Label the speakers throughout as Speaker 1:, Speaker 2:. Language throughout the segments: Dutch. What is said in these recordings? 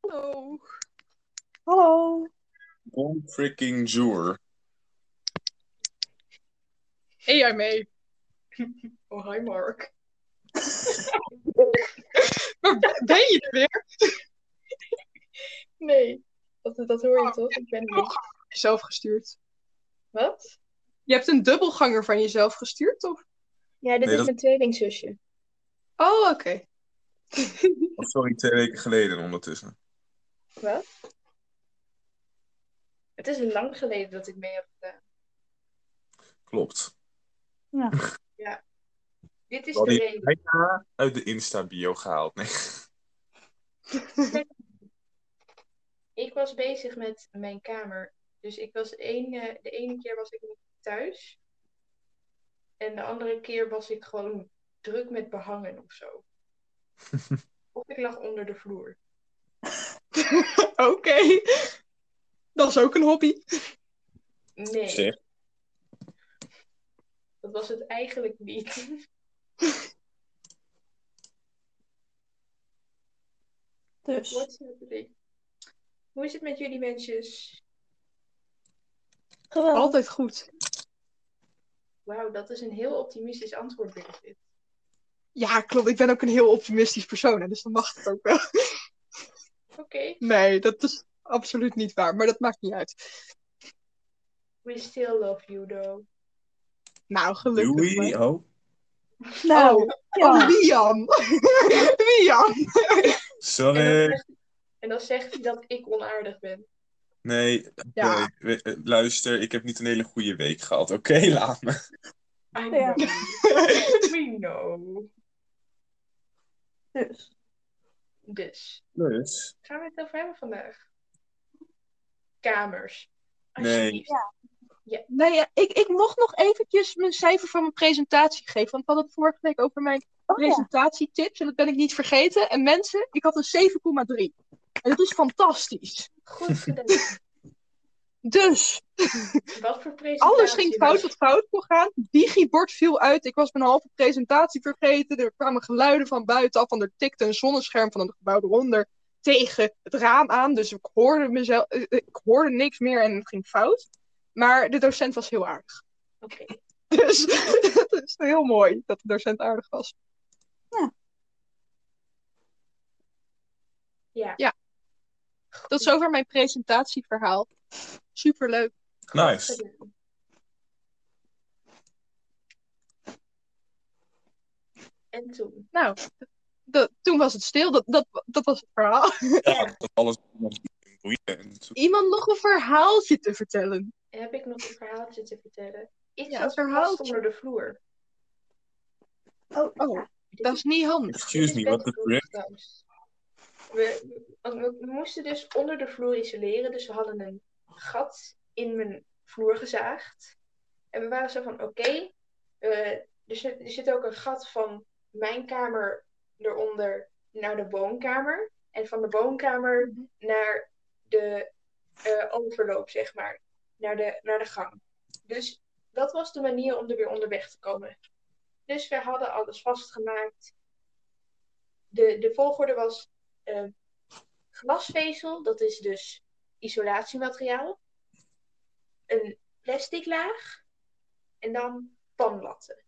Speaker 1: Hallo.
Speaker 2: Hallo.
Speaker 3: On freaking jour.
Speaker 1: Hey, jij mee? Oh, hi Mark. Waar ben je er weer?
Speaker 2: Nee, dat, dat hoor je toch? Ik ben er niet.
Speaker 1: Jezelf gestuurd.
Speaker 2: Wat?
Speaker 1: Je hebt een dubbelganger van jezelf gestuurd, of?
Speaker 2: Ja, dit
Speaker 3: Nee,
Speaker 2: is
Speaker 3: dat-
Speaker 2: mijn tweelingzusje.
Speaker 1: Oh, oké.
Speaker 3: Oh, sorry, twee weken geleden ondertussen.
Speaker 2: Wat? Het is lang geleden dat ik mee heb gedaan.
Speaker 3: Klopt.
Speaker 2: Dit is
Speaker 3: Wel,
Speaker 2: de
Speaker 3: die-
Speaker 2: reden.
Speaker 3: Bijna uit de Insta-bio gehaald. Nee.
Speaker 2: Ik was bezig met mijn kamer. Dus ik was één, eh, de ene keer was ik niet thuis. En de andere keer was ik gewoon druk met behangen of zo. of ik lag onder de vloer.
Speaker 1: oké. Dat is ook een hobby.
Speaker 2: Nee,
Speaker 3: Zeg.
Speaker 2: dat was het eigenlijk niet.
Speaker 4: Dus,
Speaker 2: What's happening? Hoe is het met jullie mensjes?
Speaker 4: geweldig.
Speaker 1: Altijd goed.
Speaker 2: Wauw, dat is een heel optimistisch antwoord, Birgit.
Speaker 1: Ja, klopt. Ik ben ook een heel optimistisch persoon, hè, dus dan mag het ook wel.
Speaker 2: Oké,
Speaker 1: Nee, dat is absoluut niet waar, maar dat maakt niet uit.
Speaker 2: we still love you though.
Speaker 1: Nou, gelukkig. maar.
Speaker 3: Doei. Oh.
Speaker 4: Nou,
Speaker 1: Oh,
Speaker 4: ja.
Speaker 1: Liam. Liam.
Speaker 2: En, dan
Speaker 3: Sorry.
Speaker 2: zegt, en dan zegt hij dat ik onaardig ben.
Speaker 3: Nee.
Speaker 1: Ja.
Speaker 3: nee, we- eh, luister, ik heb niet een hele goede week gehad. Oké, laat me.
Speaker 2: I
Speaker 4: Ja.
Speaker 2: know. We know.
Speaker 4: dus.
Speaker 2: Dus,
Speaker 3: Dus.
Speaker 2: gaan we het over hebben vandaag? Kamers.
Speaker 3: Nee.
Speaker 2: Alsjeblieft.
Speaker 1: Nee, Nou ja, ik, ik mocht nog eventjes mijn cijfer van mijn presentatie geven. Want we hadden het vorige week over mijn
Speaker 4: Oh, ja.
Speaker 1: presentatietips. En dat ben ik niet vergeten. En mensen, ik had een 7,3. En dat is fantastisch.
Speaker 2: Goed gedaan.
Speaker 1: Dus,
Speaker 2: Wat voor presentatie?
Speaker 1: alles ging
Speaker 4: dus.
Speaker 1: fout wat fout kon gaan. Digibord viel uit. Ik was mijn halve presentatie vergeten. Er kwamen geluiden van buitenaf. Want er tikte een zonnescherm van het gebouw eronder tegen het raam aan. Dus ik hoorde, mezelf, eh, eh, ik hoorde niks meer en het ging fout. Maar de docent was heel aardig.
Speaker 2: Oké,
Speaker 1: Dus het is heel mooi dat de docent aardig was.
Speaker 2: ja.
Speaker 1: Ja. Tot zover mijn presentatieverhaal. Superleuk.
Speaker 3: Nice.
Speaker 2: gedaan. En toen?
Speaker 1: Dat, toen was het stil, dat, dat, dat was het verhaal.
Speaker 3: Ja, dat alles boeien. en zo.
Speaker 1: Iemand nog een verhaaltje te vertellen?
Speaker 2: heb ik nog een verhaaltje te vertellen. Iets
Speaker 1: Ja,
Speaker 2: als
Speaker 1: een
Speaker 2: een
Speaker 1: verhaaltje.
Speaker 2: vast onder de vloer.
Speaker 4: Oh,
Speaker 1: Oh,
Speaker 4: ja.
Speaker 1: dat is niet handig.
Speaker 3: Excuse me, what the frick?
Speaker 2: frick? We, we, we moesten dus onder de vloer isoleren, dus we hadden een gat in mijn vloer gezaagd. En we waren zo van, oké, eh, er, zit, er zit ook een gat van mijn kamer eronder naar de woonkamer. En van de woonkamer naar de eh, overloop, zeg maar. Naar de, naar de gang. Dus dat was de manier om er weer onderweg te komen. Dus we hadden alles vastgemaakt. De, de volgorde was eh, glasvezel, dat is dus isolatiemateriaal. Een plastic laag. En dan panlatten.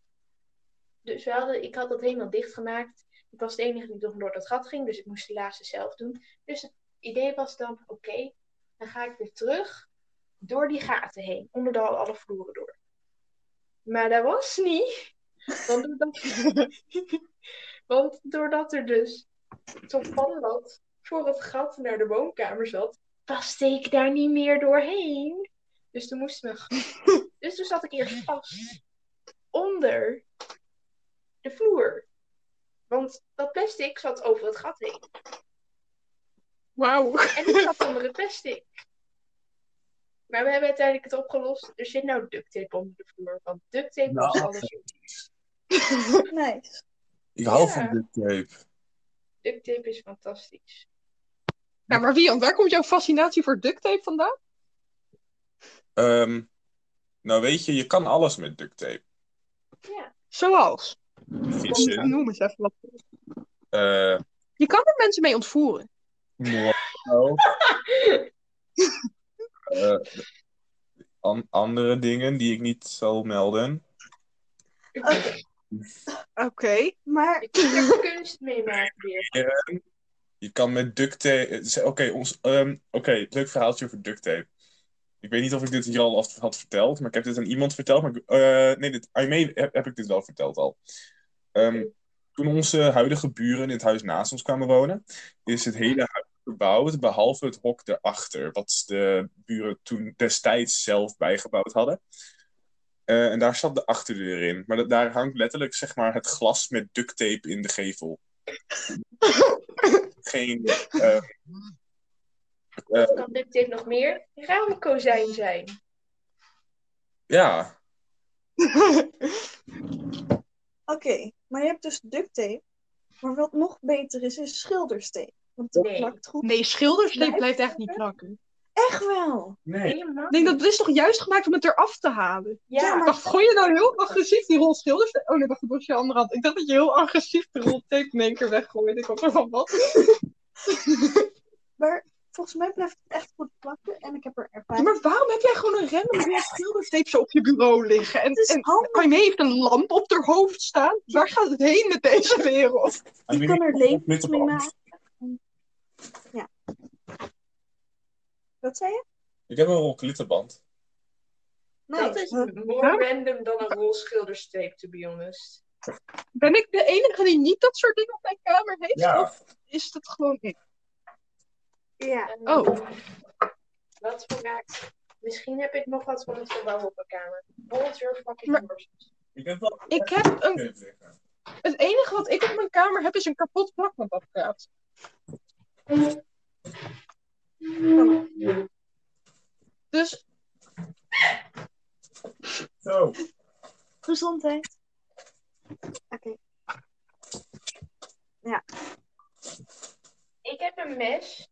Speaker 2: Dus we hadden, ik had dat helemaal dichtgemaakt. Ik was de enige die nog door dat gat ging, dus ik moest de laatste zelf doen. Dus het idee was dan, oké, dan ga ik weer terug door die gaten heen, onder de, alle vloeren door. Maar dat was niet. Want doordat, want doordat er dus zo'n panlat voor het gat naar de woonkamer zat, paste ik daar niet meer doorheen. Dus toen moest me. Dus toen zat ik hier vast onder de vloer. Want dat plastic zat over het gat heen.
Speaker 1: Wauw.
Speaker 2: En ik zat onder het plastic. Maar we hebben uiteindelijk het opgelost. Er zit nou duct tape onder de vloer. Want duct tape was
Speaker 3: Nou.
Speaker 2: alles.
Speaker 4: Nice.
Speaker 3: Ik hou
Speaker 2: Ja.
Speaker 3: van dit tape.
Speaker 2: Duct tape is fantastisch.
Speaker 1: Ja, maar Wian, waar komt jouw fascinatie voor duct tape vandaan?
Speaker 3: Ehm, nou weet je, je kan alles met duct tape.
Speaker 1: Zoals?
Speaker 3: Vissen,
Speaker 1: Noem eens even wat.
Speaker 3: eh,
Speaker 1: Je kan er mensen mee ontvoeren.
Speaker 3: Wow. Eh, an- andere dingen die ik niet zal melden.
Speaker 4: Oké.
Speaker 1: Oké, maar
Speaker 2: Je kunt er kunst mee maken weer.
Speaker 3: Je kan met duct tape. eh, ze- Oké, ons. ehm, Oké, leuk verhaaltje over duct tape. Ik weet niet of ik dit hier al af- had verteld, maar ik heb dit aan iemand verteld. Maar ik- eh, nee, dit, aan Aimee heb, heb ik dit wel verteld al. Ehm, toen onze huidige buren in het huis naast ons kwamen wonen, is het hele huis verbouwd, behalve het hok erachter, wat de buren toen destijds zelf bijgebouwd hadden. Eh, en daar zat de achterdeur in. Maar dat, daar hangt letterlijk zeg maar, het glas met duct tape in de gevel geen. eh,
Speaker 2: Wat kan duct tape nog meer? Raamkozijn zijn.
Speaker 3: ja,
Speaker 4: maar je hebt dus duct tape. Maar wat nog beter is, is schilderstape. Want dat
Speaker 2: Nee.
Speaker 4: plakt goed.
Speaker 1: nee, schilderstape
Speaker 4: Blijft
Speaker 1: blijft echt niet plakken.
Speaker 4: Echt wel!
Speaker 3: nee.
Speaker 2: Helemaal.
Speaker 1: Ik denk dat dit is toch juist gemaakt om het eraf te halen?
Speaker 2: Ja,
Speaker 4: Ja,
Speaker 1: Ik
Speaker 4: maar-
Speaker 1: dacht, gooi je nou heel agressief die rol schilderstape? Oh nee, dat was je andere hand. Ik dacht dat je heel agressief de rol tape in één keer weggooide. Ik was er van, wat?
Speaker 4: Maar volgens mij blijft het echt goed plakken. En ik heb er ervaring
Speaker 1: Ja, maar waarom heb jij gewoon een random rol schilderstape zo op je bureau liggen? En,
Speaker 4: Het is
Speaker 1: en
Speaker 4: handig.
Speaker 1: Aimee heeft een lamp op haar hoofd staan. Waar gaat het heen met deze wereld?
Speaker 4: Je kan er levens mee maken. Ja. Wat zei je?
Speaker 3: Ik heb een rol glitterband.
Speaker 2: dat is more random dan een rol schilderstape, to be honest.
Speaker 1: Ben ik de enige die niet dat soort dingen op mijn kamer heeft? Of is dat gewoon ik?
Speaker 4: Ja.
Speaker 2: En,
Speaker 1: Oh.
Speaker 2: Wat voor raakt. Misschien heb ik nog wat van het verbouw op mijn kamer. Bolt your fucking
Speaker 1: Maar-
Speaker 2: horses.
Speaker 3: Ik heb wel
Speaker 1: Ik heb een
Speaker 3: liggen.
Speaker 1: Het enige wat ik op mijn kamer heb is een kapot plakbandapparaat. Dus
Speaker 3: Zo.
Speaker 4: Gezondheid. Oké.
Speaker 2: Ik heb een mes.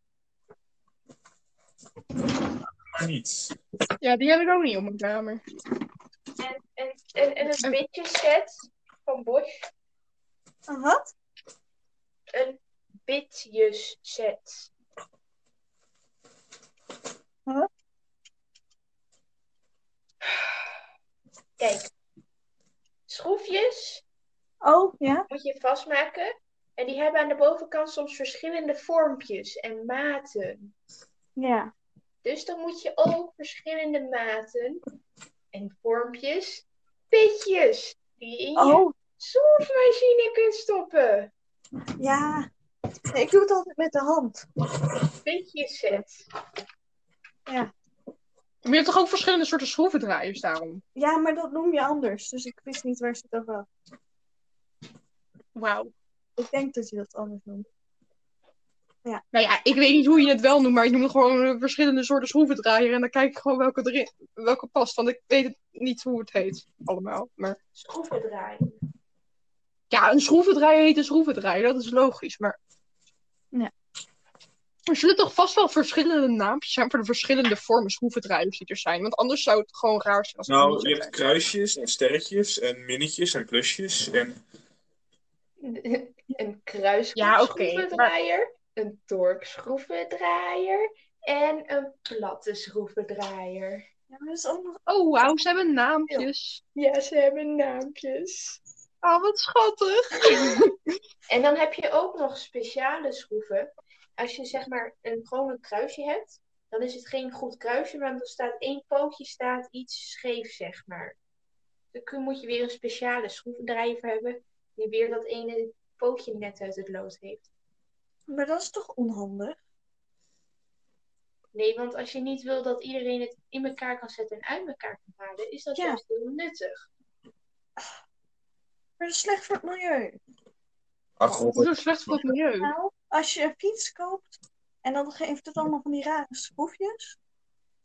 Speaker 3: Maar niets.
Speaker 1: ja, die heb ik ook niet op mijn kamer.
Speaker 2: En, en, en een beetje set van Bosch.
Speaker 4: En wat?
Speaker 2: Een bitjes set.
Speaker 4: Huh?
Speaker 2: Kijk. Schroefjes
Speaker 4: Oh, ja.
Speaker 2: moet je vastmaken. En die hebben aan de bovenkant soms verschillende vormpjes en maten.
Speaker 4: Ja.
Speaker 2: Dus dan moet je ook verschillende maten en vormpjes, pitjes, die je in je
Speaker 4: Oh,
Speaker 2: schroefmachine kunt stoppen.
Speaker 4: ja. Nee, ik doe het altijd met de hand.
Speaker 2: Pitjes set.
Speaker 1: Maar je hebt toch ook verschillende soorten schroevendraaiers daarom?
Speaker 4: Ja, maar dat noem je anders. Dus ik wist niet waar ze het over had.
Speaker 1: Wauw.
Speaker 4: Ik denk dat je dat anders noemt.
Speaker 1: Nou ja, ik weet niet hoe je het wel noemt, maar ik noem het gewoon eh, verschillende soorten schroevendraaier. En dan kijk ik gewoon welke, erin, welke past, want ik weet het niet hoe het heet allemaal. Maar
Speaker 2: Schroeven draaien.
Speaker 1: ja, een schroevendraaier heet een schroevendraaier, dat is logisch. Maar
Speaker 4: Ja.
Speaker 1: er zullen toch vast wel verschillende naampjes zijn voor de verschillende vormen schroevendraaiers die er zijn. Want anders zou het gewoon raar zijn als het niet
Speaker 3: Nou,
Speaker 1: zo zijn.
Speaker 3: je hebt kruisjes en sterretjes en minnetjes en plusjes. En...
Speaker 2: Een kruishoek
Speaker 1: Ja, oké,
Speaker 2: schroevendraaier, een torkschroevendraaier en een platte schroevendraaier.
Speaker 4: Ja, maar dat is allemaal...
Speaker 1: Oh, wauw, ze hebben naampjes.
Speaker 2: Ja, ze hebben naampjes.
Speaker 1: Ah, wat schattig.
Speaker 2: En dan heb je ook nog speciale schroeven. Als je zeg maar een gewoon een kruisje hebt, dan is het geen goed kruisje, want dan staat één pootje staat iets scheef, zeg maar. Dan kun- moet je weer een speciale schroevendraaier voor hebben, die weer dat ene pootje net uit het lood heeft.
Speaker 4: Maar dat is toch onhandig?
Speaker 2: Nee, want als je niet wil dat iedereen het in elkaar kan zetten en uit elkaar kan halen, is dat
Speaker 4: Ja.
Speaker 2: juist heel nuttig.
Speaker 4: Maar dat is slecht voor het milieu.
Speaker 3: Ach
Speaker 1: Het
Speaker 3: god,
Speaker 1: is zo slecht voor het milieu.
Speaker 4: Nou, als je een fiets koopt en dan geeft het allemaal van die rare schroefjes,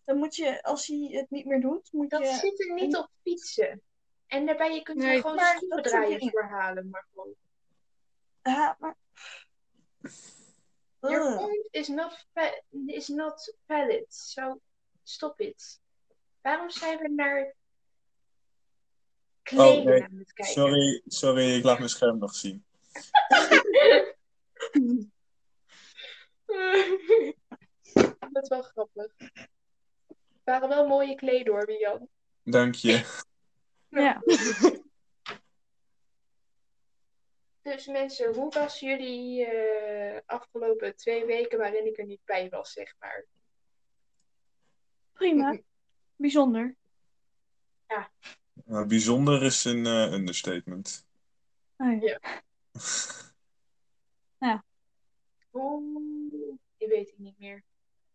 Speaker 4: dan moet je, als hij het niet meer doet, moet
Speaker 2: Dat
Speaker 4: je...
Speaker 2: zit er niet op fietsen. En daarbij je kunt er
Speaker 1: Nee,
Speaker 2: gewoon
Speaker 4: maar dat soort
Speaker 2: schroevendraaiers
Speaker 4: dingen.
Speaker 2: voor halen, maar gewoon.
Speaker 4: Ja, maar...
Speaker 2: Your
Speaker 4: Ugh.
Speaker 2: point is not, va- is not valid, so stop it. Waarom zijn we naar kleding
Speaker 3: Oh, nee.
Speaker 2: aan het kijken?
Speaker 3: sorry, sorry, ik laat mijn scherm nog zien.
Speaker 2: Eh, wel grappig. Het waren wel mooie kleden hoor, Jan.
Speaker 3: Dank je.
Speaker 4: Ja.
Speaker 2: Dus mensen, hoe was jullie eh, afgelopen twee weken waarin ik er niet bij was, zeg maar?
Speaker 4: Prima. Bijzonder.
Speaker 3: Nou, bijzonder is een eh, understatement.
Speaker 4: Ah, ja.
Speaker 2: Hoe? Die weet ik niet meer.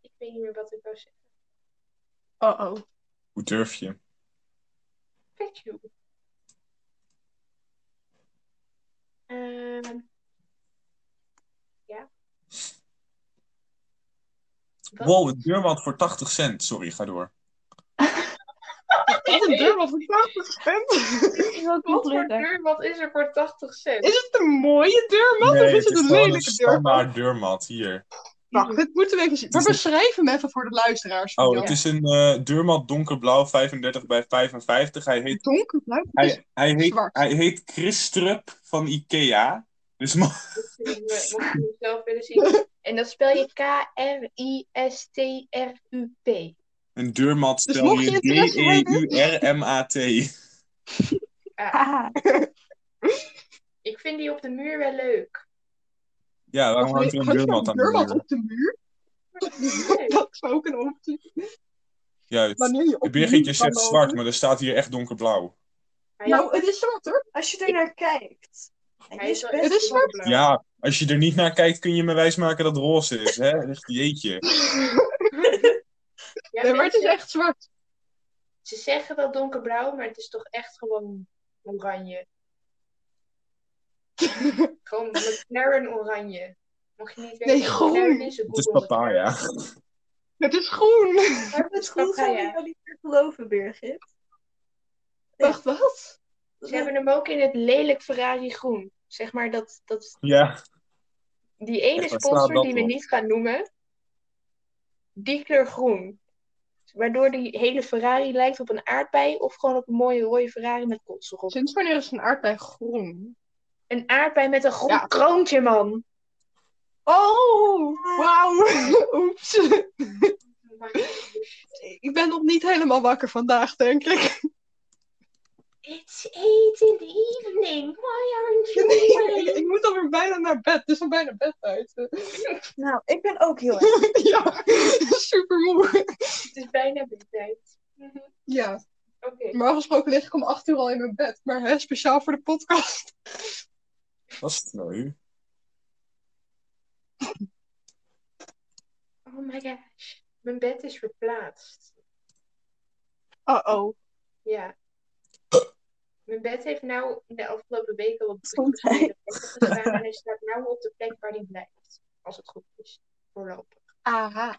Speaker 2: Ik weet niet meer wat ik wou zeggen.
Speaker 1: Oh oh.
Speaker 3: Hoe durf je?
Speaker 2: Fuck you. Ehm, ja. Wat?
Speaker 3: Wow, een deurmat voor 80 cent. Sorry, ga door.
Speaker 1: Wat een deur, wat een 80 cent.
Speaker 4: Ik wil ook
Speaker 2: Wat
Speaker 4: nog
Speaker 2: voor
Speaker 4: leuker.
Speaker 2: deur? Wat is er voor 80 cent?
Speaker 1: Is het een mooie deurmat of is het een
Speaker 3: gewoon
Speaker 1: lelijke deurmat?
Speaker 3: standaard deurmat hier.
Speaker 1: Wacht, dit moeten we even zien. Maar
Speaker 3: Het is
Speaker 1: beschrijf hem even voor de luisteraars.
Speaker 3: Oh,
Speaker 1: Jan.
Speaker 3: het is een eh, deurmat donkerblauw, 35 bij 55. Hij heet,
Speaker 1: donkerblauw. Het is-
Speaker 3: hij, hij heet,
Speaker 1: zwart.
Speaker 3: hij heet Christrup van Ikea. Dus mo-
Speaker 2: Mocht je hem zelf willen zien. En dat spel je K-R-I-S-T-R-U-P.
Speaker 3: een deurmat
Speaker 1: Dus
Speaker 3: spel
Speaker 1: mocht je
Speaker 3: je
Speaker 1: interesse hebben?
Speaker 3: D-E-U-R-M-A-T.
Speaker 2: Ah,
Speaker 4: Haha.
Speaker 2: Ik vind die op de muur wel leuk.
Speaker 3: Ja, waarom
Speaker 1: Wat
Speaker 3: hangt er
Speaker 1: weet-
Speaker 3: een
Speaker 1: hangt er deurmat
Speaker 3: deurmat aan de muur?
Speaker 1: op de muur?
Speaker 2: Leuk.
Speaker 1: Dat is ook een optie.
Speaker 3: Juist.
Speaker 1: Wanneer je op de muur
Speaker 3: Birgitje
Speaker 1: kan
Speaker 3: zegt
Speaker 1: lopen.
Speaker 3: zwart, maar er staat hier echt donkerblauw.
Speaker 2: Hij
Speaker 1: Nou, het is zwart hoor.
Speaker 4: Als je er naar kijkt. Hij
Speaker 2: hij
Speaker 4: is
Speaker 2: wel
Speaker 4: best
Speaker 2: echt
Speaker 1: Het is zwart.
Speaker 2: donkerblauw.
Speaker 3: Ja, als je er niet naar kijkt, kun je me wijsmaken dat het roze is, hè? Echt, jeetje.
Speaker 2: Ja,
Speaker 1: Nee, maar het is
Speaker 2: mensen,
Speaker 1: echt zwart.
Speaker 2: Ze zeggen wel donkerblauw, maar het is toch echt gewoon oranje. gewoon McLaren oranje. Mocht je niet weten
Speaker 1: Nee,
Speaker 2: wat
Speaker 1: groen.
Speaker 2: McLaren is,
Speaker 3: Het is
Speaker 2: Google
Speaker 3: papaya.
Speaker 1: Het is groen.
Speaker 4: Maar het goed
Speaker 2: Papaya.
Speaker 4: zou ik wel niet meer geloven, Birgit.
Speaker 1: Wacht, wat?
Speaker 2: Ze hebben hem ook in het lelijk Ferrari groen. Zeg maar dat, dat
Speaker 3: Ja,
Speaker 2: die ene
Speaker 3: Echt, waar slaat
Speaker 2: sponsor
Speaker 3: dat
Speaker 2: die we
Speaker 3: op?
Speaker 2: niet gaan noemen, die kleur groen. Waardoor die hele Ferrari lijkt op een aardbei of gewoon op een mooie rode Ferrari met kots erop.
Speaker 1: Sinds wanneer is een aardbei groen?
Speaker 2: Een aardbei met een groen
Speaker 1: Ja.
Speaker 2: kroontje, man.
Speaker 1: Oh, wauw. Oeps. Ik ben nog niet helemaal wakker vandaag, denk ik.
Speaker 2: It's eight in the evening. Why aren't you
Speaker 1: Ik,
Speaker 2: awake?
Speaker 1: ik moet alweer bijna naar bed. Het is al bijna bedtijd.
Speaker 4: Nou, ik ben ook heel erg.
Speaker 1: Ja, super moe.
Speaker 2: Het is bijna bedtijd. Mhm.
Speaker 1: Ja,
Speaker 2: Oké.
Speaker 1: normaal gesproken lig ik om acht uur al in mijn bed. Maar hè, speciaal voor de podcast.
Speaker 3: was het nou?
Speaker 2: Oh my gosh. Mijn bed is verplaatst.
Speaker 1: Uh-oh.
Speaker 2: Ja. Mijn bed heeft nou in de afgelopen weken wat
Speaker 4: Stond hij.
Speaker 2: verschillende plekken gestaan. En hij staat nu op de plek waar hij blijft. Als het goed is. Voorlopig.
Speaker 1: Aha.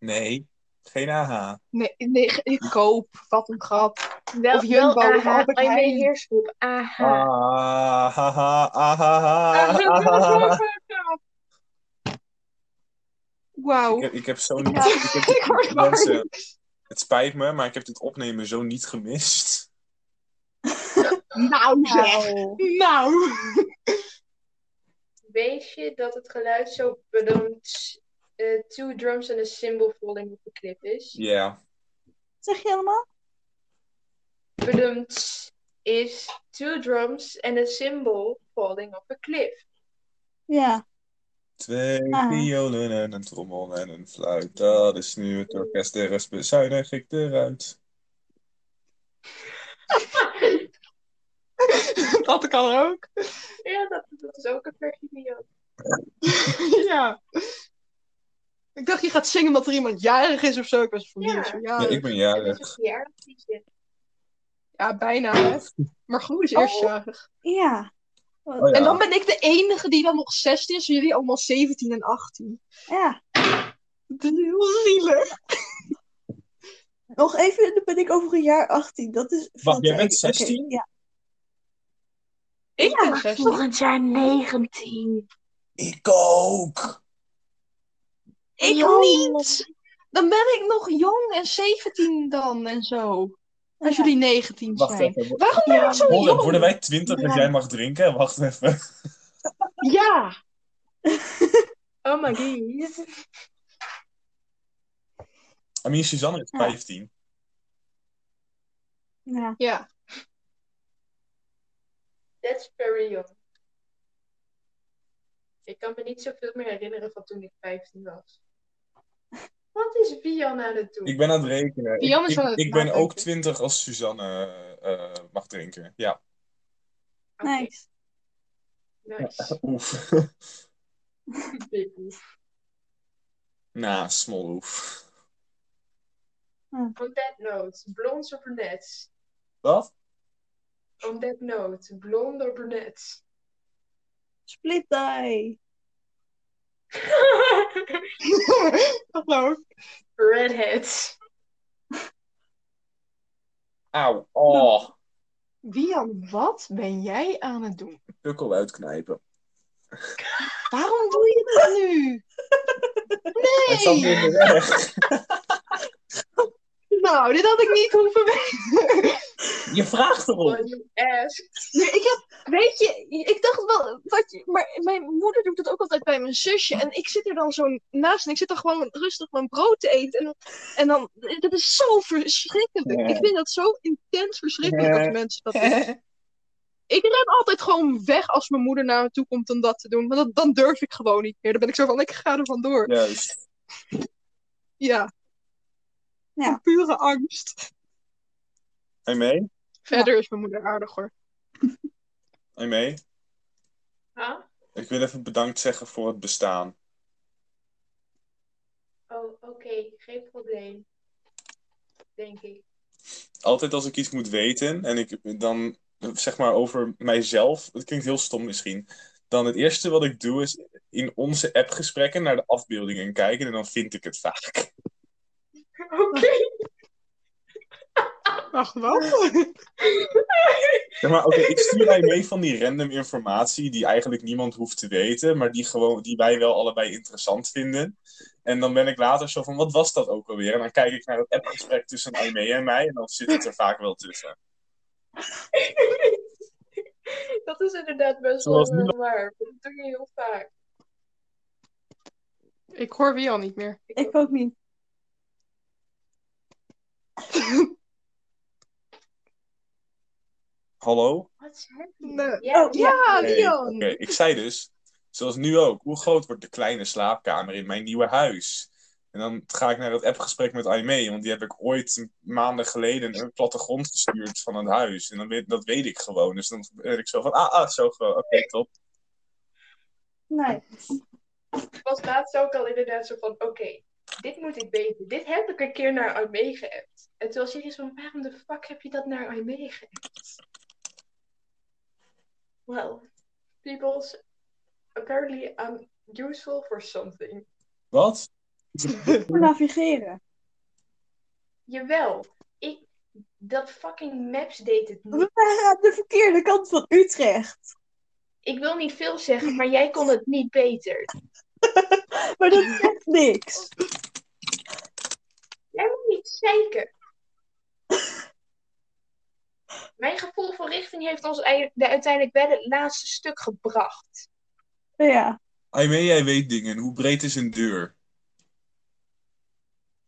Speaker 3: Nee, geen AH.
Speaker 1: Nee, nee, ge- ik koop. Wat een grap.
Speaker 2: Wel,
Speaker 1: Of Jumbo, wel, of aha, Albert
Speaker 2: I
Speaker 1: I Heijn.
Speaker 2: made
Speaker 1: made
Speaker 2: heersgroep. Aha.
Speaker 3: Ah, ha, ha, ah, ha, ha, ah, ha, ha, ha.
Speaker 1: Wauw.
Speaker 3: Ik heb, ik heb zo
Speaker 4: Ja.
Speaker 3: niet. Ik heb
Speaker 1: Ik word warm.
Speaker 3: mensen, het spijt me, maar ik heb dit opnemen zo niet gemist.
Speaker 1: Nou zeg.
Speaker 4: Nou.
Speaker 1: Nou.
Speaker 2: Weet je dat het geluid zo bedankt... eh, two drums and a cymbal falling op de clip is?
Speaker 3: Ja.
Speaker 4: Zeg je allemaal?
Speaker 2: Bedoemd is two drums and a cymbal falling off a cliff.
Speaker 4: Ja.
Speaker 3: Twee
Speaker 4: Ah.
Speaker 3: violen en een trommel en een fluit. Dat is nu het orkest. De rest bezuinig ik eruit.
Speaker 1: Dat kan ook.
Speaker 2: Ja, dat, dat is ook een versie van jou.
Speaker 1: ja. Ik dacht, je gaat zingen omdat er iemand jarig is of zo. Ik was van
Speaker 2: Ja.
Speaker 1: hier zo
Speaker 3: Ja,
Speaker 1: jarig.
Speaker 3: ik ben
Speaker 2: Dat
Speaker 3: jarig.
Speaker 2: is een verjaardagsliedje.
Speaker 1: Ja, bijna. Hè. Maar Groen is eerst jarig.
Speaker 4: Ja.
Speaker 3: Oh, ja.
Speaker 1: Oh. En dan ben ik de enige die dan nog 16 is. en Jullie allemaal 17 en 18.
Speaker 4: Ja.
Speaker 1: Dat is heel zielig.
Speaker 4: Nog even, dan ben ik over een jaar 18. Dat is... veel
Speaker 3: Wacht, jij
Speaker 4: te
Speaker 3: bent
Speaker 4: erg. Oké,
Speaker 3: 16?
Speaker 4: ja.
Speaker 1: Ik ben 16.
Speaker 2: Volgend jaar 19.
Speaker 3: Ik ook!
Speaker 1: Ik
Speaker 2: Jong.
Speaker 1: niet. Dan ben ik nog jong en 17 dan en zo. Als
Speaker 4: Ja.
Speaker 1: jullie 19
Speaker 3: Wacht
Speaker 1: zijn.
Speaker 3: even. wo-
Speaker 1: Waarom ben ik zo
Speaker 3: Worden,
Speaker 1: jong?
Speaker 3: worden wij 20 en
Speaker 1: Oh, Ja.
Speaker 3: jij mag drinken? Wacht even.
Speaker 1: Ja.
Speaker 2: Oh my god.
Speaker 3: I mean, Suzanne is
Speaker 4: Ja.
Speaker 3: 15.
Speaker 4: Ja.
Speaker 1: Ja.
Speaker 2: That's very young. Ik kan me niet zoveel meer herinneren van toen ik 15 was. Wat is Vian aan het doen?
Speaker 3: Ik ben aan het rekenen.
Speaker 1: Jan is
Speaker 3: Ik,
Speaker 1: wel aan
Speaker 3: ik,
Speaker 1: het
Speaker 3: ik ben ook
Speaker 1: nadenken.
Speaker 3: 20 als Suzanne eh, mag drinken. Ja,
Speaker 2: Oké,
Speaker 4: Nice.
Speaker 2: nice.
Speaker 3: oef.
Speaker 2: Big move.
Speaker 3: Na, small oef.
Speaker 2: On that note, blondes of brunettes?
Speaker 3: Wat?
Speaker 2: On that note, blonde of brunettes?
Speaker 4: Split die.
Speaker 1: Hallo.
Speaker 2: Redheads.
Speaker 3: Auw. Oh.
Speaker 1: Wian, wat ben jij aan het doen?
Speaker 3: Pukkel uitknijpen.
Speaker 4: Oh.
Speaker 1: Waarom doe je dat nu?
Speaker 3: Het zat
Speaker 1: Nee!
Speaker 3: weer in de weg.
Speaker 1: Nou, dit had ik niet hoeven weten.
Speaker 3: Je vraagt erop.
Speaker 2: What you asked.
Speaker 1: Nee, ik heb, weet je, ik dacht wel dat je, maar mijn moeder doet dat ook altijd bij mijn zusje. En ik zit er dan zo naast en ik zit dan gewoon rustig mijn brood te eten. En, en dan, dat is zo verschrikkelijk.
Speaker 3: Ja.
Speaker 1: Ik vind dat zo intens verschrikkelijk als mensen dat doen. Ik ren altijd gewoon weg als mijn moeder naar me toe komt om dat te doen. Want dat, dan durf ik gewoon niet meer. Dan ben ik zo van, ik ga er vandoor.
Speaker 3: Juist.
Speaker 1: Ja.
Speaker 4: Ja.
Speaker 1: Van Pure angst.
Speaker 3: En mee?
Speaker 1: Verder is mijn moeder aardig hoor.
Speaker 3: En mee?
Speaker 2: Huh?
Speaker 3: Ik wil even bedankt zeggen voor het bestaan.
Speaker 2: Oh, oké, geen probleem. Denk ik.
Speaker 3: Altijd als ik iets moet weten en ik dan zeg maar over mijzelf, dat klinkt heel stom misschien, dan het eerste wat ik doe is in onze appgesprekken naar de afbeeldingen kijken en dan vind ik het vaak.
Speaker 2: Oké.
Speaker 1: Ach, wat?
Speaker 3: Zeg maar, oké, ik stuur mij mee van die random informatie die eigenlijk niemand hoeft te weten, maar die, gewoon, die wij wel allebei interessant vinden. En dan ben ik later zo van, wat was dat ook alweer? En dan kijk ik naar het appgesprek tussen Aimee en mij en dan zit het er vaak wel tussen.
Speaker 2: Dat is inderdaad best
Speaker 3: Zoals
Speaker 2: wel
Speaker 3: nu-
Speaker 2: eh, waar. Dat doe je heel vaak.
Speaker 1: Ik hoor wie al niet meer.
Speaker 4: Ik ook niet.
Speaker 3: Hallo?
Speaker 2: What's happening?
Speaker 1: Nee.
Speaker 2: Ja,
Speaker 4: Oh,
Speaker 2: ja.
Speaker 1: Ja,
Speaker 3: Oké,
Speaker 1: Leon.
Speaker 3: oké. Ik zei dus, zoals nu ook, hoe groot wordt de kleine slaapkamer in mijn nieuwe huis? En dan ga ik naar het appgesprek met Aimee, want die heb ik ooit maanden geleden een plattegrond gestuurd van het huis. En dan weet, dat weet ik gewoon. Dus dan ben ik zo van, ah, ah zo groot. Oké, top.
Speaker 4: Nee.
Speaker 2: Ik was laatst ook al inderdaad zo van, oké, dit moet ik weten. Dit heb ik een keer naar Aimee geappt. En toen was iedereen zo van, waarom de fuck heb je dat naar Aimee geappt? Well, people's apparently I'm useful for something.
Speaker 3: Wat?
Speaker 4: Voor navigeren.
Speaker 2: Jawel, ik, dat fucking Maps deed het niet.
Speaker 4: We waren aan de verkeerde kant van Utrecht.
Speaker 2: Ik wil niet veel zeggen, maar jij kon het niet beter.
Speaker 4: Maar dat zegt niks.
Speaker 2: Jij moet niet zeker. Mijn gevoel voor richting heeft ons ei- de- uiteindelijk wel het laatste stuk gebracht.
Speaker 4: Ja.
Speaker 3: Aimee, jij weet dingen. Hoe breed is een deur?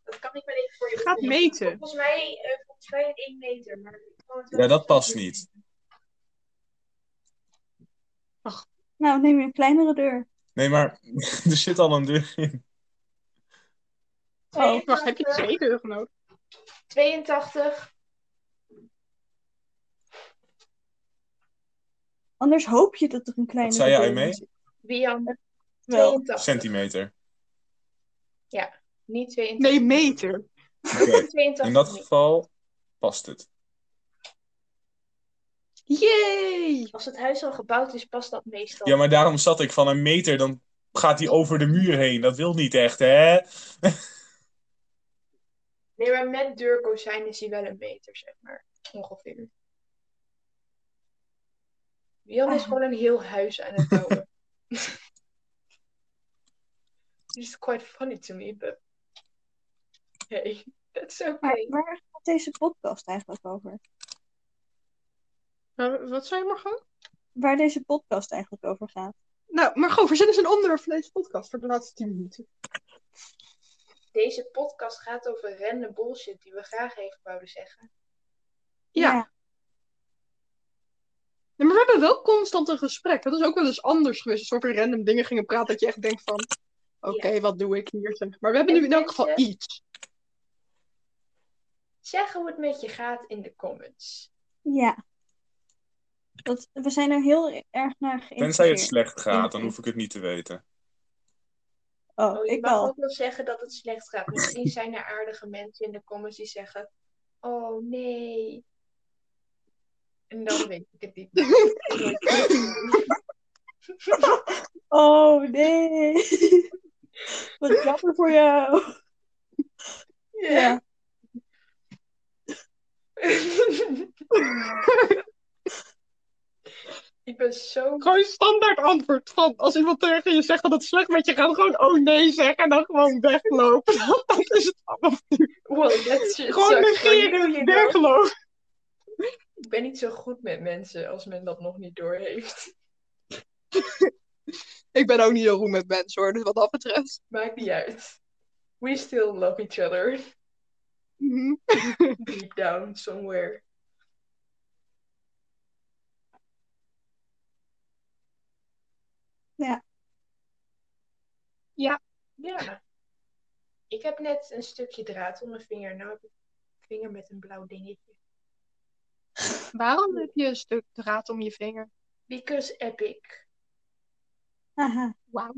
Speaker 2: Dat kan ik wel even voor je
Speaker 1: Gaat
Speaker 2: opnemen.
Speaker 1: meten.
Speaker 2: Volgens mij, eh, volgens mij een 1 meter. Maar ik kan het wel
Speaker 3: Ja, dat
Speaker 2: even
Speaker 3: past
Speaker 2: doen.
Speaker 3: niet.
Speaker 4: Nou, neem je een kleinere deur.
Speaker 3: Nee, maar er zit al een deur in.
Speaker 4: Oh,
Speaker 1: Wacht, heb je
Speaker 2: 82,
Speaker 1: twee deuren nodig?
Speaker 2: 82.
Speaker 4: Anders hoop je dat er een kleinere
Speaker 3: zei jij
Speaker 4: deur
Speaker 3: mee?
Speaker 4: in zit.
Speaker 2: Bian,
Speaker 4: Wel.
Speaker 2: 82.
Speaker 3: Centimeter.
Speaker 2: Niet 82.
Speaker 1: Nee, meter.
Speaker 3: Oké, In
Speaker 2: 82
Speaker 3: dat
Speaker 2: niet.
Speaker 3: geval past het.
Speaker 1: Yay!
Speaker 2: Als het huis al gebouwd is, past dat meestal.
Speaker 3: Ja, maar daarom zat ik van een meter, dan gaat hij over de muur heen. Dat wil niet echt, hè?
Speaker 2: Nee, maar met deurkozijn is hij wel een meter, zeg maar. Ongeveer. Jan is
Speaker 4: Ah.
Speaker 2: gewoon een heel huis aan het bouwen. It's quite funny to me, but... Hey, that's
Speaker 4: Maar
Speaker 2: okay.
Speaker 4: waar gaat deze podcast eigenlijk over?
Speaker 1: Eh, wat zei Margot?
Speaker 4: Waar deze podcast eigenlijk over gaat?
Speaker 1: Nou, Margot, verzin eens een onderwerp voor deze podcast voor de laatste tien minuten.
Speaker 2: Deze podcast gaat over random bullshit die we graag even wouden zeggen.
Speaker 1: Ja. Ja, maar we hebben wel constant een gesprek. Dat is ook wel eens anders geweest. Als we over random dingen gingen praten, dat je echt denkt van... Oké, wat doe ik hier? zeg. Maar we hebben nu in elk geval iets.
Speaker 2: Zeg hoe het met je gaat in de comments.
Speaker 4: Ja. Dat, we zijn er heel erg naar geïnteresseerd.
Speaker 3: Tenzij het slecht gaat, dan hoef ik het niet te weten.
Speaker 4: Oh,
Speaker 2: Oh, je
Speaker 4: ik
Speaker 2: mag
Speaker 4: wel.
Speaker 2: ook wel zeggen dat het slecht gaat. Misschien zijn er aardige mensen in de comments die zeggen: Oh nee. En dan weet ik het niet.
Speaker 4: Oh, nee. Wat jammer voor jou. Ja.
Speaker 2: ik ben zo.
Speaker 1: Gewoon standaard antwoord van... Als iemand tegen je zegt dat het slecht met je gaat, gewoon oh nee zeggen. En dan gewoon weglopen. dat is het allemaal.
Speaker 2: Wow, dat is
Speaker 1: Gewoon negeren, weglopen.
Speaker 2: Ik ben niet zo goed met mensen als men dat nog niet doorheeft.
Speaker 1: Ik ben ook niet heel goed met mensen hoor, dus wat dat betreft.
Speaker 2: Maakt niet uit. We still love each other.
Speaker 1: Mhm.
Speaker 2: Deep down somewhere.
Speaker 4: Ja.
Speaker 1: Ja.
Speaker 2: Ja. Ik heb net een stukje draad om mijn vinger. Nou heb ik een vinger met een blauw dingetje.
Speaker 1: Waarom heb je een stuk draad om je vinger?
Speaker 2: Because epic.
Speaker 4: Haha.
Speaker 1: Wauw.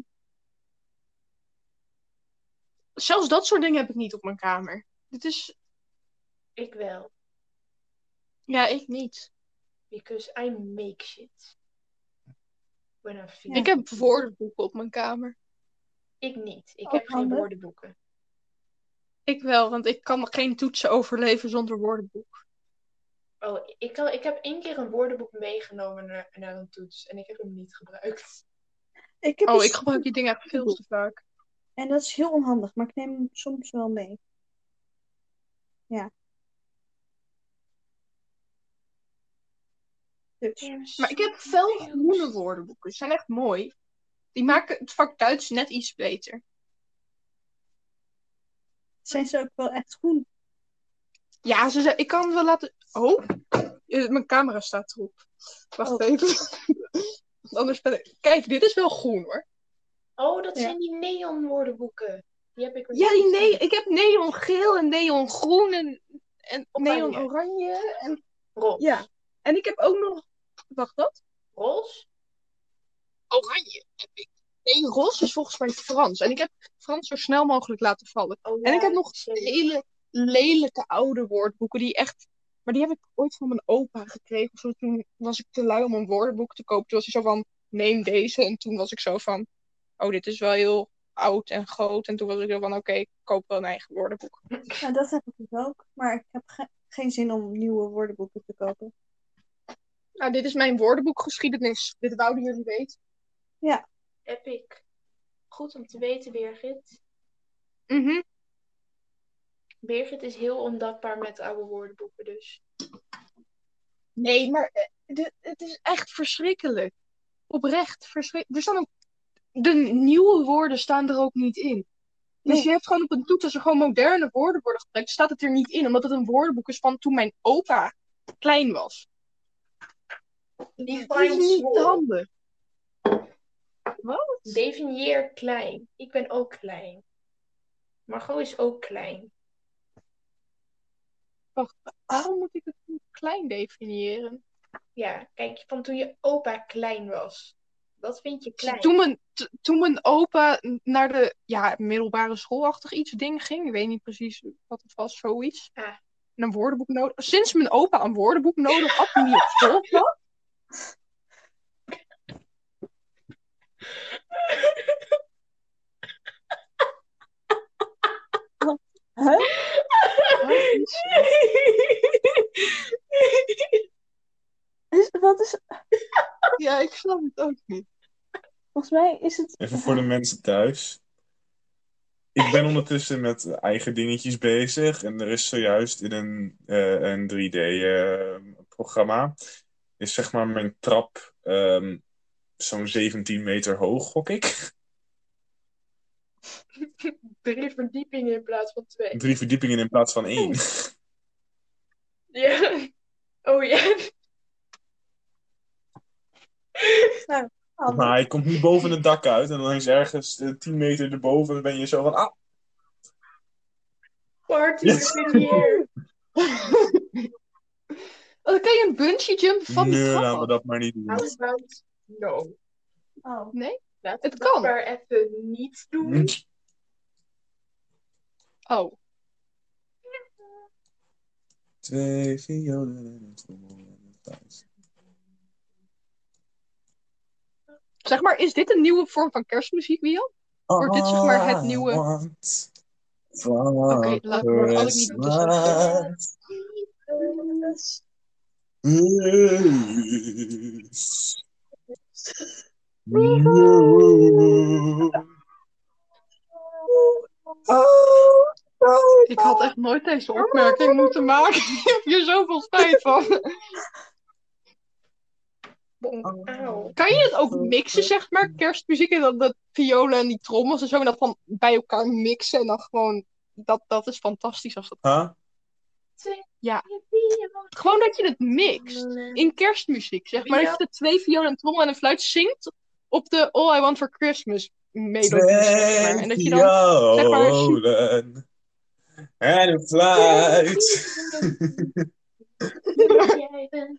Speaker 1: Zelfs dat soort dingen heb ik niet op mijn kamer. Dit is.
Speaker 2: Ik wel.
Speaker 1: Ja, ik niet.
Speaker 2: Because I make shit. When I feel.
Speaker 1: Ik heb woordenboeken op mijn kamer.
Speaker 2: Ik niet.
Speaker 1: Oh,
Speaker 2: Ik
Speaker 4: Ook
Speaker 2: heb geen
Speaker 4: handig.
Speaker 2: woordenboeken.
Speaker 1: Ik wel, want ik kan geen toetsen overleven zonder woordenboek.
Speaker 2: Oh, ik, kan, ik heb één keer een woordenboek meegenomen naar, naar een toets. En ik heb hem niet gebruikt.
Speaker 4: Ik heb
Speaker 1: Oh,
Speaker 4: een
Speaker 1: ik gebruik die dingen echt veel te vaak.
Speaker 4: En dat is heel onhandig, maar ik neem hem soms wel mee. Ja. Dus,
Speaker 1: Maar ik heb veel groene woordenboeken. Die zijn echt mooi. Die maken het vak Duits net iets beter.
Speaker 4: zijn ze ook wel echt groen?
Speaker 1: Ja, ze zei, ik kan wel laten. Oh, eh, mijn camera staat erop. Wacht
Speaker 4: Oh.
Speaker 1: even. Want Anders ben ik... Kijk, dit is wel groen hoor.
Speaker 2: Oh, dat
Speaker 4: Ja.
Speaker 2: zijn die neon woordenboeken. Die heb ik nog
Speaker 1: Ja, die
Speaker 2: niet
Speaker 1: ne
Speaker 2: gezien.
Speaker 1: ik heb neon geel en neon groen en, en
Speaker 2: Oranje.
Speaker 1: neon oranje. En,
Speaker 2: Roze.
Speaker 1: ja. en ik heb ook nog. Wacht, wat?
Speaker 2: Roze?
Speaker 1: Oranje heb ik. Nee, roze is volgens mij Frans. En ik heb Frans zo snel mogelijk laten vallen.
Speaker 2: Oh,
Speaker 1: En ik
Speaker 2: ja,
Speaker 1: heb nog
Speaker 2: sorry.
Speaker 1: hele lelijke oude woordboeken die echt. Maar die heb ik ooit van mijn opa gekregen. Of zo. Toen was ik te lui om een woordenboek te kopen. Toen was hij zo van: neem deze. En toen was ik zo van: oh, dit is wel heel oud en groot. En toen was ik zo van: oké, ik koop wel een eigen woordenboek.
Speaker 4: Nou, dat heb ik dus ook, maar ik heb ge- geen zin om nieuwe woordenboeken te kopen.
Speaker 1: Nou, dit is mijn woordenboekgeschiedenis. Dit wouden jullie weten.
Speaker 2: Epic. Goed om te weten, Birgit.
Speaker 1: Mhm.
Speaker 2: Birgit is heel ondankbaar met oude woordenboeken, dus.
Speaker 1: Nee, maar eh, dit- het is echt verschrikkelijk. Oprecht verschrikkelijk. Er staan ook... De nieuwe woorden staan er ook niet in. Dus
Speaker 4: Nee.
Speaker 1: je hebt gewoon op een toets, als er gewoon moderne woorden worden gebruikt, staat het er niet in. Omdat het een woordenboek is van toen mijn opa klein was. Dat is niet handig. Wat?
Speaker 2: Definieer klein. Ik ben ook klein. Margot is ook klein.
Speaker 1: Waarom moet ik het nu klein definiëren?
Speaker 2: Ja, kijk, van toen je opa klein was. Wat vind je klein?
Speaker 1: Toen mijn, t- toen mijn opa naar de ja, middelbare schoolachtig iets ding ging, ik weet niet precies wat het was, zoiets.
Speaker 2: Ah.
Speaker 1: En een woordenboek nodig. Sinds mijn opa een woordenboek nodig had toen hij op school kwam.
Speaker 4: Huh? Is, wat is,
Speaker 1: Ja, ik snap het ook niet.
Speaker 4: volgens mij is het...
Speaker 3: Even voor de mensen thuis. Ik ben ondertussen met eigen dingetjes bezig. En er is zojuist in een, eh, een 3D-programma. is zeg maar mijn trap ehm, zo'n 17 meter hoog, gok ik.
Speaker 2: Drie verdiepingen in plaats van twee.
Speaker 3: Drie verdiepingen in plaats van één.
Speaker 2: Ja. Oh ja.
Speaker 4: Handig.
Speaker 3: Maar hij komt nu boven het dak uit en dan is ergens eh, 10 meter erboven en dan ben je zo van, ah,
Speaker 2: Party with the year.
Speaker 1: Oh, dan kan je een bungee jump van die
Speaker 3: nee,
Speaker 1: trap
Speaker 3: laten we
Speaker 1: af.
Speaker 3: dat maar niet doen.
Speaker 2: How about Nou, no?
Speaker 4: Oh.
Speaker 2: Laten
Speaker 1: Het
Speaker 2: we dat
Speaker 1: kan.
Speaker 2: maar even niet
Speaker 3: Hm.
Speaker 2: doen.
Speaker 1: Oh,
Speaker 3: Twee violen en een trommel en een thuis.
Speaker 1: zeg maar, is dit een nieuwe vorm van kerstmuziek, Wiel? Wordt dit, zeg maar, het
Speaker 3: All I
Speaker 1: nieuwe-
Speaker 3: Oh, want for
Speaker 1: Oké, laat maar, had ik niet moeten
Speaker 3: Christmas
Speaker 4: Oh.
Speaker 3: is you.
Speaker 1: ik had echt nooit deze opmerking moeten maken. Ik heb hier zoveel spijt van.
Speaker 2: Auw.
Speaker 1: Kan je het ook mixen, zeg maar, kerstmuziek en dan dat violen en die trommels en zo, en dat dan bij elkaar mixen en dan gewoon, dat, dat is fantastisch als dat.
Speaker 3: Huh?
Speaker 1: Gewoon dat je het mixt. in kerstmuziek, zeg maar.
Speaker 2: Ja.
Speaker 1: Dat je de twee violen en trommel en een fluit zingt op de All I Want For Christmas melodie, dus, zeg maar. En dat je dan... zeg maar, een super-
Speaker 3: violen en een fluit.
Speaker 2: Jij bent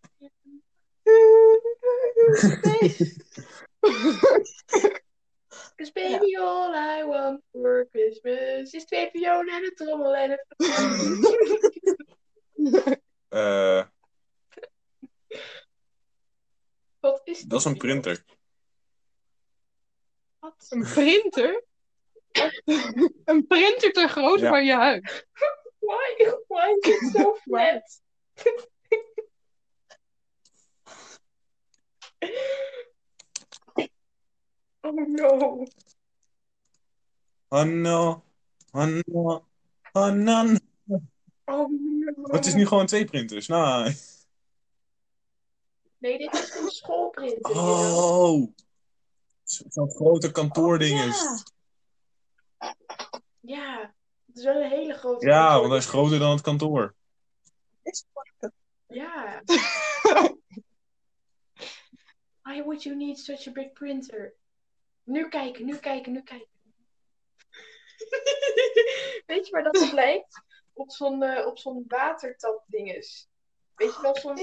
Speaker 2: Cause baby all I want for Christmas is twee violen en een trommel en een...
Speaker 3: Eh,
Speaker 2: Wat is dit?
Speaker 3: dat is een printer.
Speaker 2: Wat?
Speaker 1: Een printer? een printer ter grootte
Speaker 3: Ja.
Speaker 1: van je huis.
Speaker 2: Why? Why is it so flat? oh no.
Speaker 3: Oh no, oh no, oh
Speaker 2: Oh
Speaker 3: no.
Speaker 2: no.
Speaker 3: Maar het is nu gewoon twee printers. Nou,
Speaker 2: Nee, dit is een schoolprint. dus
Speaker 3: oh. Zo'n grote kantoording is.
Speaker 2: Ja, het is wel een hele grote.
Speaker 3: Ja, want hij is groter dan het kantoor.
Speaker 4: Is plakken.
Speaker 2: Ja. Why would you need such a big printer? Nu kijken, nu kijken, nu kijken. Weet je waar dat op lijkt? Op zo'n eh, op zo'n watertapdinges. Weet je wel, zo'n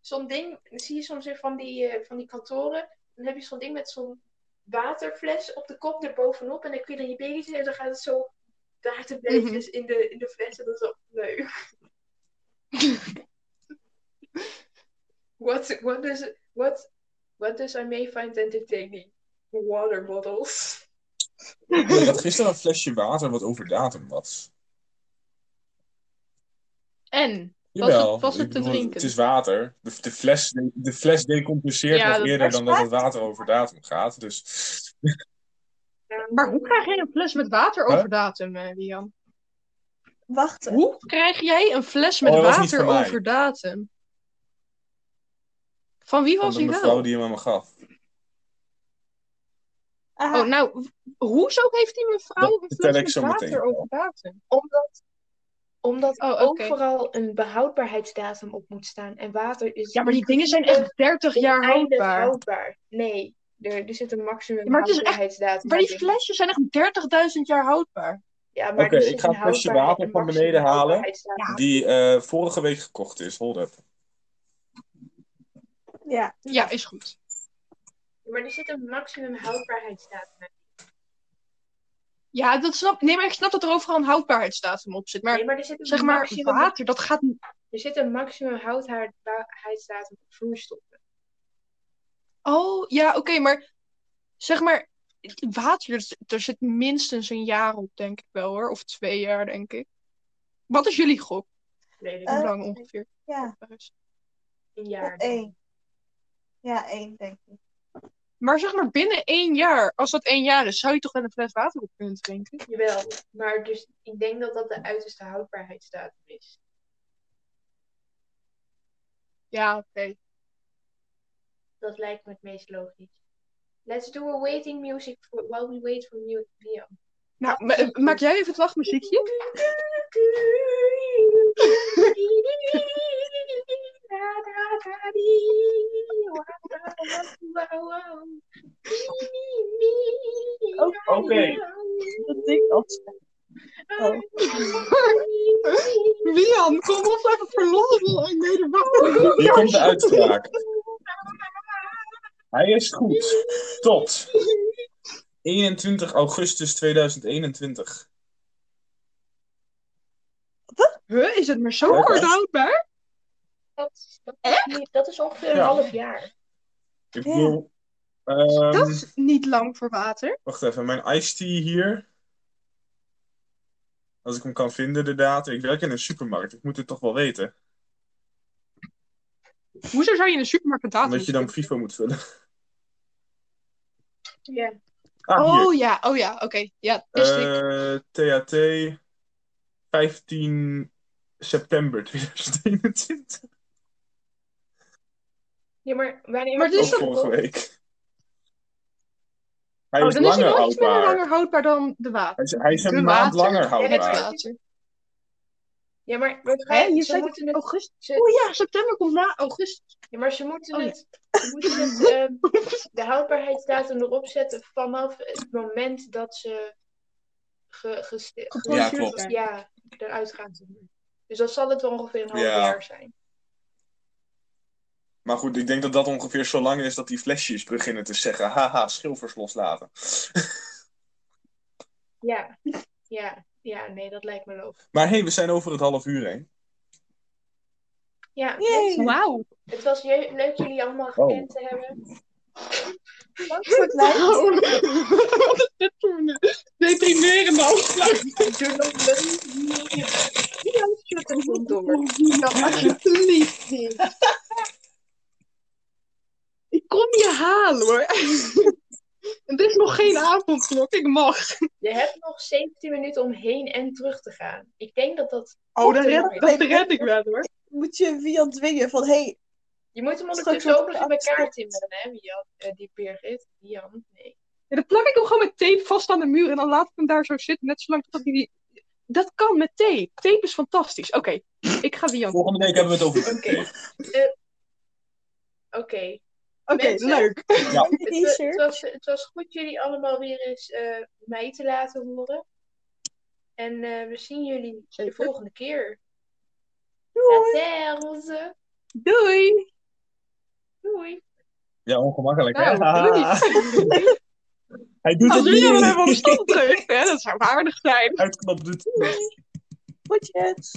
Speaker 2: zo'n ding, dat zie je soms in van die, eh, van die kantoren. Dan heb je zo'n ding met zo'n waterfles op de kop erbovenop. En dan kun je dan je baby's in en dan gaat het zo waterbeetjes in, de, in de fles. En dat is ook leuk. what, what, does, what, what does I may find entertaining? Water bottles.
Speaker 3: Ik had gisteren een flesje water wat over datum was.
Speaker 1: En? Was
Speaker 3: Jawel,
Speaker 1: het- was het
Speaker 3: ik
Speaker 1: te
Speaker 3: bedoel,
Speaker 1: drinken?
Speaker 3: Het is water. De, de, fles, de, fles decompenseert
Speaker 1: Ja,
Speaker 3: nog
Speaker 1: dat-
Speaker 3: eerder
Speaker 4: dat
Speaker 3: dan
Speaker 4: is
Speaker 3: dat het water over datum gaat. Dus
Speaker 1: Maar hoe krijg jij een fles met water
Speaker 3: Huh?
Speaker 1: over datum, eh, Lian?
Speaker 4: Wachten.
Speaker 1: Hoe krijg jij een fles met
Speaker 3: Oh, dat was niet
Speaker 1: water
Speaker 3: van mij.
Speaker 1: over datum? Van wie
Speaker 3: van
Speaker 1: was
Speaker 3: de
Speaker 1: hij
Speaker 3: mevrouw
Speaker 1: wel?
Speaker 3: die hem aan me gaf.
Speaker 4: Aha.
Speaker 1: Oh, nou, hoezo heeft die mevrouw
Speaker 3: Dat
Speaker 1: een
Speaker 3: vertel
Speaker 1: fles
Speaker 3: ik
Speaker 1: met
Speaker 3: zo meteen
Speaker 1: water
Speaker 3: wel.
Speaker 1: over datum?
Speaker 2: Omdat, omdat
Speaker 1: Oh, oké.
Speaker 2: overal een behoudbaarheidsdatum op moet staan. En water is
Speaker 1: Ja, maar die dingen zijn echt 30 jaar
Speaker 2: oneindig
Speaker 1: houdbaar.
Speaker 2: houdbaar. Nee, er, er zit een maximum
Speaker 1: Maar het is echt-
Speaker 2: houdbaarheidsdatum.
Speaker 1: Maar die
Speaker 2: aan.
Speaker 1: flesjes zijn echt 30.000 jaar houdbaar.
Speaker 2: Ja, maar
Speaker 3: Oké,
Speaker 2: er
Speaker 3: ik
Speaker 2: zit
Speaker 3: ga
Speaker 2: een
Speaker 3: het flesje
Speaker 2: houdbaarheid-
Speaker 3: water
Speaker 2: een
Speaker 3: van
Speaker 2: maximum
Speaker 3: beneden halen.
Speaker 2: houdbaarheidsdatum.
Speaker 1: Ja.
Speaker 3: Die eh, vorige week gekocht is. Hold up.
Speaker 4: Ja.
Speaker 1: Ja, is goed.
Speaker 2: Maar er zit een maximum houdbaarheidsdatum. aan.
Speaker 1: Ja, dat snap Nee, maar ik snap dat er overal een houdbaarheidsdatum op zit. Maar
Speaker 2: nee, maar er zit een
Speaker 1: zeg maar,
Speaker 2: maximum,
Speaker 1: water, dat gaat niet.
Speaker 2: er zit een maximum houdbaarheidsdatum op vloeistoffen.
Speaker 1: Oh, ja, oké, maar zeg maar, water, er zit- er zit minstens een jaar op, denk ik wel hoor. Of twee jaar, denk ik. Wat is jullie gok?
Speaker 2: Nee, dat is
Speaker 1: Hoe
Speaker 4: Eh,
Speaker 1: lang ongeveer?
Speaker 4: Ja.
Speaker 2: een
Speaker 4: Ja,
Speaker 2: jaar.
Speaker 4: één. Ja, één, denk ik.
Speaker 1: Maar zeg maar, binnen één jaar, als dat één jaar is, zou je toch wel een fles water op kunnen drinken?
Speaker 2: Jawel, maar dus ik denk dat dat de uiterste houdbaarheidsdatum is.
Speaker 1: Ja, oké.
Speaker 2: Dat lijkt me het meest logisch. Let's do a waiting music for, while we wait for Liam.
Speaker 1: Nou, ma- maak jij even het wachtmuziekje?
Speaker 4: Dat ding als Oh.
Speaker 1: Mian, kom ons even verlossen. Ik weet het wel.
Speaker 3: Hier komt de uitspraak. Hij is goed. Tot 21 augustus 2021.
Speaker 1: Huh, is het maar zo
Speaker 3: Oké.
Speaker 1: kort houdbaar?
Speaker 2: Dat, dat, is, dat is ongeveer een
Speaker 3: Ja.
Speaker 2: half jaar.
Speaker 3: Ik
Speaker 4: Ja.
Speaker 3: bedoel... ehm,
Speaker 1: Dat is niet lang voor water.
Speaker 3: Wacht even, mijn iced tea hier. Als ik hem kan vinden, de datum. Ik werk in een supermarkt, ik moet dit toch wel weten.
Speaker 1: Hoezo zou je in de supermarkt een datum
Speaker 3: Omdat je dan FIFO moet vullen.
Speaker 2: Ja.
Speaker 3: Ah, hier.
Speaker 1: Oh ja, oh ja, oké. Ja, wist ik.
Speaker 3: Eh, THT 15 september 2021.
Speaker 2: Ja, maar wanneer...
Speaker 1: Maar dit
Speaker 3: Ook
Speaker 1: is dan-
Speaker 3: vorige week. Hij
Speaker 1: Oh,
Speaker 3: is
Speaker 1: dan is
Speaker 3: langer
Speaker 1: hij nog iets minder
Speaker 3: houdbaar.
Speaker 1: langer houdbaar dan de water.
Speaker 3: Hij is, hij is
Speaker 1: De
Speaker 3: een maand
Speaker 1: water.
Speaker 3: langer
Speaker 1: Het
Speaker 2: waar.
Speaker 3: houdbaar.
Speaker 1: water.
Speaker 2: Ja, maar, we
Speaker 1: Hè,
Speaker 2: gaan-
Speaker 1: je
Speaker 2: ze
Speaker 1: zei
Speaker 2: moeten
Speaker 1: dat
Speaker 2: het...
Speaker 1: augustus.
Speaker 2: ze-
Speaker 1: Oh ja, september komt na augustus.
Speaker 2: Ja, maar ze moeten
Speaker 1: Oh, ja.
Speaker 2: het, ze moeten het, ehm, de houdbaarheidsdatum erop zetten vanaf het moment dat ze ge, geste-
Speaker 1: Geproduceerd
Speaker 3: Ja, klopt.
Speaker 1: zijn.
Speaker 2: ja, eruit gaan. zeg maar. Dus dan zal het wel ongeveer een half
Speaker 3: Ja.
Speaker 2: jaar zijn.
Speaker 3: Maar goed, ik denk dat dat ongeveer zo lang is dat die flesjes beginnen te zeggen: haha, schilfers loslaten.
Speaker 2: Ja, ja, ja, nee, dat lijkt me logisch.
Speaker 3: Maar hé, hey, we zijn over het half uur heen.
Speaker 2: Ja,
Speaker 4: Yay.
Speaker 1: Wauw.
Speaker 2: het was je- leuk jullie allemaal gekend te hebben.
Speaker 4: Dank voor het luisteren.
Speaker 1: Wat is dit voor een Oh. deprimerende afsluiting?
Speaker 2: Doe nog leuk.
Speaker 1: door. Alsjeblieft niet. Ik kom je halen hoor. Het is nog geen avondklok, ik mag.
Speaker 2: Je hebt nog 17 minuten om heen en terug te gaan. Ik denk dat dat...
Speaker 1: Oh, dat
Speaker 2: dat
Speaker 1: red, dat red ik wel hoor.
Speaker 4: Moet je Vian dwingen van, hé, hey,
Speaker 2: Je moet hem
Speaker 4: Straks
Speaker 2: ondertussen ook
Speaker 4: wordt
Speaker 2: nog in
Speaker 4: het
Speaker 2: elkaar
Speaker 4: afgesloten.
Speaker 2: timmeren, hè, Jan, eh, die Birgit. Jan, nee.
Speaker 1: Ja, dan plak ik hem gewoon met tape vast aan de muur en dan laat ik hem daar zo zitten, net zolang tot hij die... Dat kan met tape. Tape is fantastisch. Oké, ik ga die Jan.
Speaker 3: Volgende week hebben we het over
Speaker 2: Oké. Oké.
Speaker 1: Oké,
Speaker 2: Mensen.
Speaker 1: leuk.
Speaker 4: de
Speaker 2: Het, wa- het,
Speaker 4: t-shirt.
Speaker 2: was, het was goed jullie allemaal weer eens eh, mij te laten horen. En eh, we zien jullie de
Speaker 1: Zeker.
Speaker 2: volgende keer.
Speaker 4: Doei.
Speaker 2: Later, onze.
Speaker 1: Doei.
Speaker 2: Doei.
Speaker 3: Ja, ongemakkelijk. hè?
Speaker 1: Nou, doei.
Speaker 3: Hij doet
Speaker 1: Als
Speaker 3: het
Speaker 1: jullie hem hebben op
Speaker 3: niet.
Speaker 1: stand drukt, hè, dat zou aardig zijn.
Speaker 3: Uitknop doet het niet.
Speaker 4: Goedjes.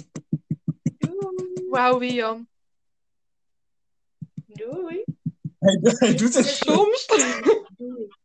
Speaker 1: Wauw, Wian.
Speaker 2: Doei.
Speaker 3: Hij, hij doet het
Speaker 1: Soms.
Speaker 2: Doei.